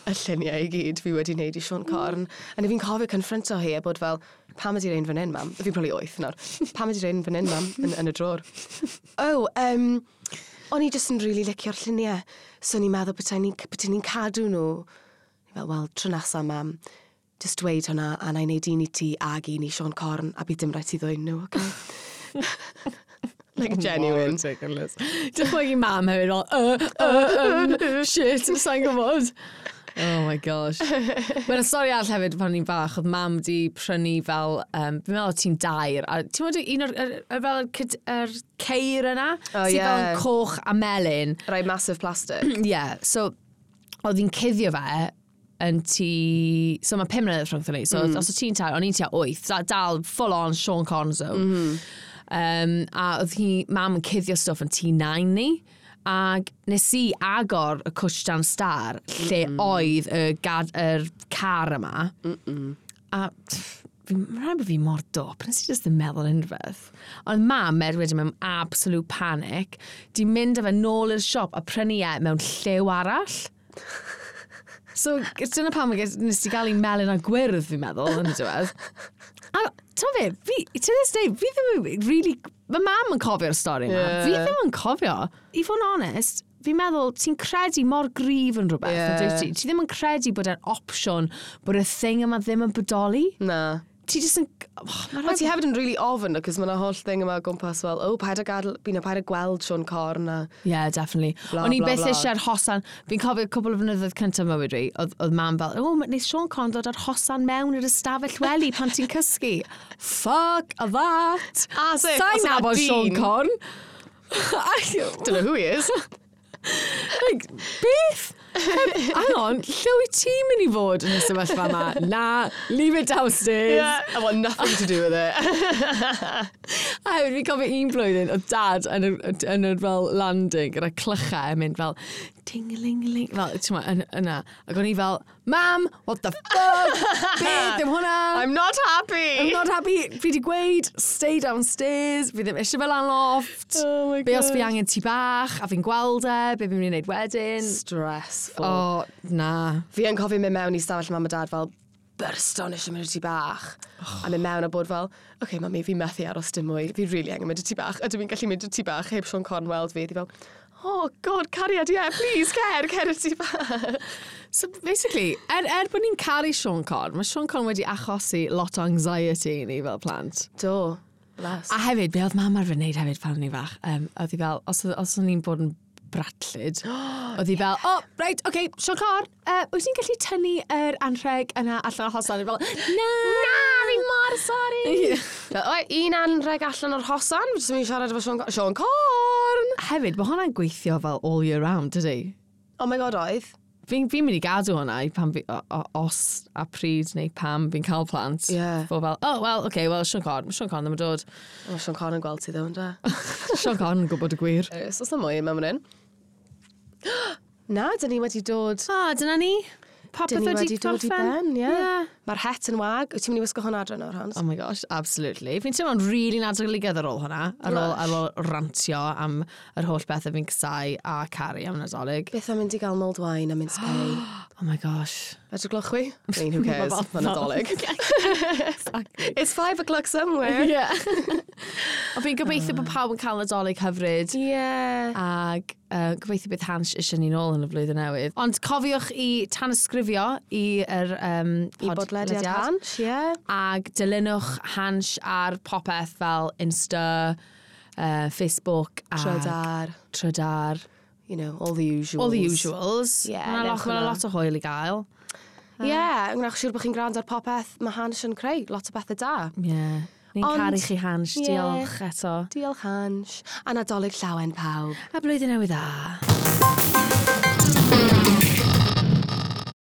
[SPEAKER 1] y lluniau i gyd fi wedi wneud i Sean Corn. A ni fi'n cofio confronto hi a bod fel, pam ydi rhain fan hyn, mam? Fi'n probably oeth nawr. Pam ydi rhain fan hyn, mam, yn, yn y dror? oh, um, o'n i jyst yn really licio'r lluniau. So o'n i'n meddwl bethau ni'n bydai ni'n cadw nhw. Ni fel, wel, tro nesa, mam, just dweud hwnna, a na i wneud un i ti ag un i Sean Corn, a bydd dim rhaid ti ddwy'n nhw, okay? like genuine.
[SPEAKER 2] Ridiculous. Dwi'n bod i mam hefyd fel, uh, uh, um, shit, sa'n gwybod. Oh my gosh. Mae'n stori all hefyd pan ni'n bach, oedd mam di prynu fel, um, fi'n meddwl ti'n dair, a ti'n meddwl un o'r, yr- yr fel, cyd- yr ceir yna,
[SPEAKER 1] Oh,
[SPEAKER 2] sydd fel
[SPEAKER 1] ie.
[SPEAKER 2] yn coch a melyn.
[SPEAKER 1] Rai massive plastic.
[SPEAKER 2] Ie, yeah, so oedd hi'n cuddio fe yn ti... So mae 5 mlynedd rhwngth ni. So os oedd ti'n tair, o'n i'n tua 8. Da, dal full on Sean Conn zone. Um, a oedd hi, mam yn cuddio stuff yn T9 ni. Ac nes i agor y cwstian star lle oedd y, gad, yr car yma. A pff, fi- mae'n rhaid bod fi mor dop, nes i just yn meddwl unrhywbeth. Ond mam, er wedyn mewn absolute panic, di mynd â fe nôl i'r siop a prynu e mewn llew arall. So, g- dyna pam mae ges- nes i gael ei melyn a gwyrdd, fi'n meddwl, yn y diwedd. A, ti'n fe, fi, to this day, fi ddim yn really... Mae mam yn cofio'r stori yma.
[SPEAKER 1] Ie.
[SPEAKER 2] Fi ddim yn cofio. I fod yn honest, fi'n meddwl, ti'n credu mor grif yn rhywbeth,
[SPEAKER 1] Ie.
[SPEAKER 2] yeah. ti? Ti ddim yn credu bod e'n opsiwn bod y thing yma ddim yn bodoli.
[SPEAKER 1] Na.
[SPEAKER 2] Ti jyst yn... Oh, ma'
[SPEAKER 1] Ond
[SPEAKER 2] rhaid-
[SPEAKER 1] ti hefyd yn really ofyn, cos mae'na holl thing yma o gwmpas fel, o, paid a gadw, fi'n paid a gweld Sean Corn a...
[SPEAKER 2] Yeah, definitely.
[SPEAKER 1] Bla,
[SPEAKER 2] O'n i
[SPEAKER 1] bla,
[SPEAKER 2] beth
[SPEAKER 1] bla.
[SPEAKER 2] eisiau ar hosan. Fi'n cofio cwbl o fynyddoedd cyntaf mywyd fi, oedd, oedd mam fel, o, ma- nes Sean Conn dod ar hosan mewn i'r ystafell weli pan ti'n cysgu. Fuck that!
[SPEAKER 1] A sef,
[SPEAKER 2] Sa'n
[SPEAKER 1] Ah, os yna
[SPEAKER 2] nabod
[SPEAKER 1] dyn.
[SPEAKER 2] Sean Conn. Ac-
[SPEAKER 1] Dyna who he *laughs* is.
[SPEAKER 2] like, beth? Hang on, lle wyt ti'n mynd i fod yn y sefyllfa yma? Na, leave it downstairs.
[SPEAKER 1] yeah. I want nothing to do with *laughs* it.
[SPEAKER 2] A hefyd, fi'n cofio un blwyddyn o dad yn yr, yn yr fel landing gyda clychau yn mynd fel ting-a-ling-a-ling, fel, ti'n ma, yn- yna. Ac o'n i fel, mam, what the fuck, beth dim hwnna?
[SPEAKER 1] I'm not happy. *laughs*
[SPEAKER 2] I'm not happy, fi di gweud, stay downstairs, fi ddim eisiau fel lan loft.
[SPEAKER 1] Oh my
[SPEAKER 2] Be os fi
[SPEAKER 1] God.
[SPEAKER 2] angen ti bach, a fi'n gweld e, be fi'n mynd i wneud wedyn.
[SPEAKER 1] Stressful.
[SPEAKER 2] O, na.
[SPEAKER 1] Fi yn cofio mynd mewn i stafell mam a dad fel, byrston eisiau mynd i ti bach. A mynd mewn a bod fel, oce, okay, mami, fi methu aros dim mwy. Fi really angen mynd i ti bach. Ydw i'n gallu mynd i ti bach heb Sean Corn weld fi. Di fel, oh, god, cariad, yeah, please, cer, cer i ti bach.
[SPEAKER 2] So basically, er, er bod ni'n caru Sean Conn, mae Sean Conn wedi achosi lot o anxiety i ni fel plant.
[SPEAKER 1] Do. Bless.
[SPEAKER 2] A hefyd, be oedd mam arfer wneud hefyd pan o'n i fach, um, oedd hi fel, os, oedd- os o'n i'n bod yn
[SPEAKER 1] *gasps*
[SPEAKER 2] bratlyd, oedd hi fel, oh, right, oce, okay, Sean Corn, uh, wyt ti'n gallu tynnu yr anrheg yna allan o hosan? Oedd hi fel, na!
[SPEAKER 1] A fi mor
[SPEAKER 2] *laughs*
[SPEAKER 1] sori! *laughs* Fel, oi, un anreg allan o'r hosan, fydys mi'n siarad efo Sean, Sean Corn!
[SPEAKER 2] Hefyd, mae hwnna'n gweithio fel all year round, dydy?
[SPEAKER 1] Oh my god, oedd.
[SPEAKER 2] Fi'n fi mynd i gadw hwnna i pan fi, o, o, os a pryd neu pam fi'n cael plant.
[SPEAKER 1] Ie.
[SPEAKER 2] Fo fel, oh, well, okay, well, Sean Conn, Sean Conn ddim yn dod.
[SPEAKER 1] Mae Sean Conn yn gweld ti ddo, ynddo?
[SPEAKER 2] Sean Conn yn gwybod
[SPEAKER 1] *laughs*
[SPEAKER 2] y gwir.
[SPEAKER 1] Os oes na mwy mewn fan hyn. *gasps* Na, dyn ni wedi dod...
[SPEAKER 2] O, oh, dyna ni. Popeth
[SPEAKER 1] Dyn ni wedi dod i ben, ie.
[SPEAKER 2] Yeah.
[SPEAKER 1] Mae'r het yn wag. Wyt ti'n mynd i wisgo hwnna adran o'r hans?
[SPEAKER 2] Oh my gosh, absolutely. Fi'n teimlo'n really nadoligedd ar ôl hwnna, ar ôl, ar ôl rantio am yr holl bethau fi'n casau a caru am nadolig.
[SPEAKER 1] Beth am mynd i gael mold wine am mince pie? *gasps*
[SPEAKER 2] Oh my gosh.
[SPEAKER 1] Fedra gloch chwi? I *laughs* mean, who cares? Mae'n adolyg.
[SPEAKER 2] *laughs* exactly.
[SPEAKER 1] It's five o'clock *laughs* somewhere.
[SPEAKER 2] Yeah. *laughs* a fi'n gobeithio bod pawb yn cael nadolig hyfryd.
[SPEAKER 1] Yeah.
[SPEAKER 2] Ac uh, gobeithio bydd Hans eisiau ni nôl yn y flwyddyn newydd. Ond cofiwch i tan ysgrifio i'r um,
[SPEAKER 1] I bodlediad hans, yeah.
[SPEAKER 2] Ac dilynwch Hans ar popeth fel Insta, uh, Facebook a
[SPEAKER 1] Trydar,
[SPEAKER 2] Trydar.
[SPEAKER 1] you know, all the usuals.
[SPEAKER 2] All the usuals.
[SPEAKER 1] Ie,
[SPEAKER 2] Mae 'na lot,
[SPEAKER 1] newch
[SPEAKER 2] ma' 'na
[SPEAKER 1] hwnna.
[SPEAKER 2] lot o hwyl i gael.
[SPEAKER 1] Ie, yeah, yn gwneud siŵr bod chi'n gwrando ar popeth mae Hans yn creu, lot o bethau da.
[SPEAKER 2] Ie. Yeah. Ni'n
[SPEAKER 1] Ond-
[SPEAKER 2] caru chi Hans,
[SPEAKER 1] Ie.
[SPEAKER 2] diolch eto.
[SPEAKER 1] Diolch Hans, a nadolig llawen pawb.
[SPEAKER 2] A blwyddyn newydd dda.